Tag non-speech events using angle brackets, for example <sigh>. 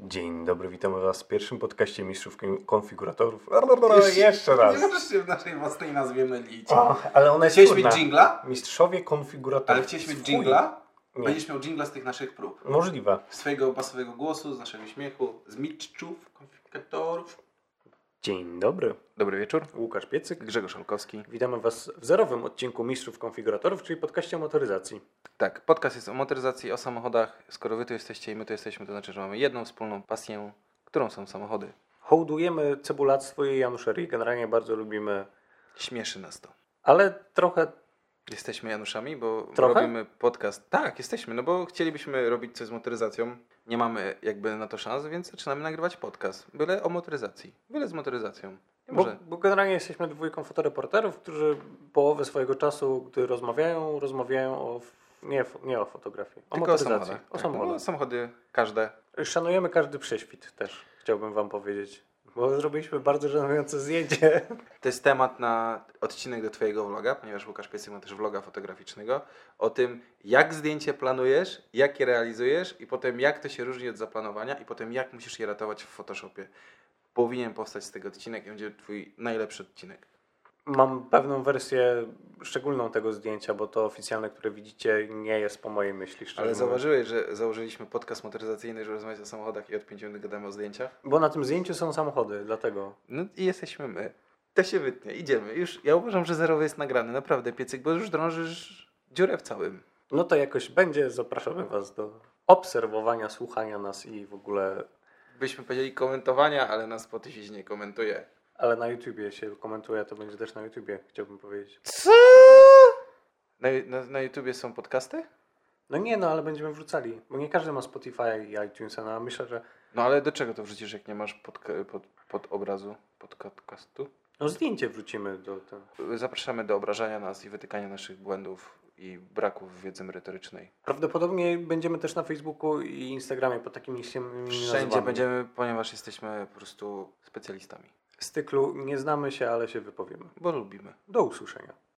Dzień dobry, witamy Was w pierwszym podcaście Mistrzów Kon- Konfiguratorów. Jeszcze- Jeszcze raz. Nie możesz się w naszej własnej nazwie mylić. O, ale ona jest Chcieliśmy trudna. dżingla? Mistrzowie Konfiguratorów. Ale chcieliśmy Fuj. dżingla? Nie. Będziesz miał dżingla z tych naszych prób. Możliwe. Z twojego basowego głosu, z naszego śmiechu, z mitczów, konfikatorów. Dzień dobry, Dobry wieczór. Łukasz Piecyk. Grzegorz Olkowski. Witamy Was w zerowym odcinku Mistrzów Konfiguratorów, czyli podcaście o motoryzacji. Tak, podcast jest o motoryzacji, o samochodach. Skoro wy tu jesteście i my tu jesteśmy, to znaczy, że mamy jedną wspólną pasję, którą są samochody. Hołdujemy cebulactwo i Januszerii, generalnie bardzo lubimy, Śmieszy nas to. ale trochę Jesteśmy Januszami, bo Trochę? robimy podcast. Tak, jesteśmy, no bo chcielibyśmy robić coś z motoryzacją. Nie mamy jakby na to szans, więc zaczynamy nagrywać podcast. Byle o motoryzacji. Byle z motoryzacją. Nie Bo, może. bo generalnie jesteśmy dwójką fotoreporterów, którzy połowę swojego czasu, gdy rozmawiają, rozmawiają o. f- Nie, f- nie o fotografii, o Tylko o motoryzacji. samochodach. O Tak, no bo samochodach. samochody każde. Szanujemy każdy prześwit też, chciałbym Wam powiedzieć. Bo zrobiliśmy bardzo żenujące zdjęcie. <laughs> To jest temat na odcinek do Twojego vloga, ponieważ Łukasz Piecyk ma też vloga fotograficznego, o tym, jak zdjęcie planujesz, jak je realizujesz i potem jak to się różni od zaplanowania i potem jak musisz je ratować w Photoshopie. Powinien powstać z tego odcinek i będzie Twój najlepszy odcinek. Mam pewną wersję szczególną tego zdjęcia, bo to oficjalne, które widzicie, nie jest po mojej myśli szczerze. Ale mówiąc. zauważyłeś, że założyliśmy podcast motoryzacyjny, żeby rozmawiać o samochodach i od 5 minut gadamy o zdjęciach? Bo na tym zdjęciu są samochody, dlatego. No i jesteśmy my. To się wytnie, idziemy. Już ja uważam, że zerowy jest nagrany, naprawdę piecyk, bo już drążysz dziurę w całym. No to jakoś będzie. Zapraszamy Was do obserwowania, słuchania nas i w ogóle Byśmy powiedzieli komentowania, ale na Spotify się nie komentuje. Ale na YouTubie się komentuje, to będzie też na YouTubie, chciałbym powiedzieć. Co? Na, na, na YouTubie są podcasty? No nie, no ale będziemy wrzucali, bo nie każdy ma Spotify i iTunesa, no a myślę, że No ale do czego to wrzucisz, jak nie masz pod, pod, pod obrazu, pod podcastu? no zdjęcie wrzucimy do tego. Zapraszamy do obrażania nas i wytykania naszych błędów i braków wiedzy merytorycznej. Prawdopodobnie będziemy też na Facebooku i Instagramie pod takimi samymi Wszędzie nazwami. będziemy, ponieważ jesteśmy po prostu specjalistami, W styklu nie znamy się, ale się wypowiemy. bo lubimy. Do usłyszenia.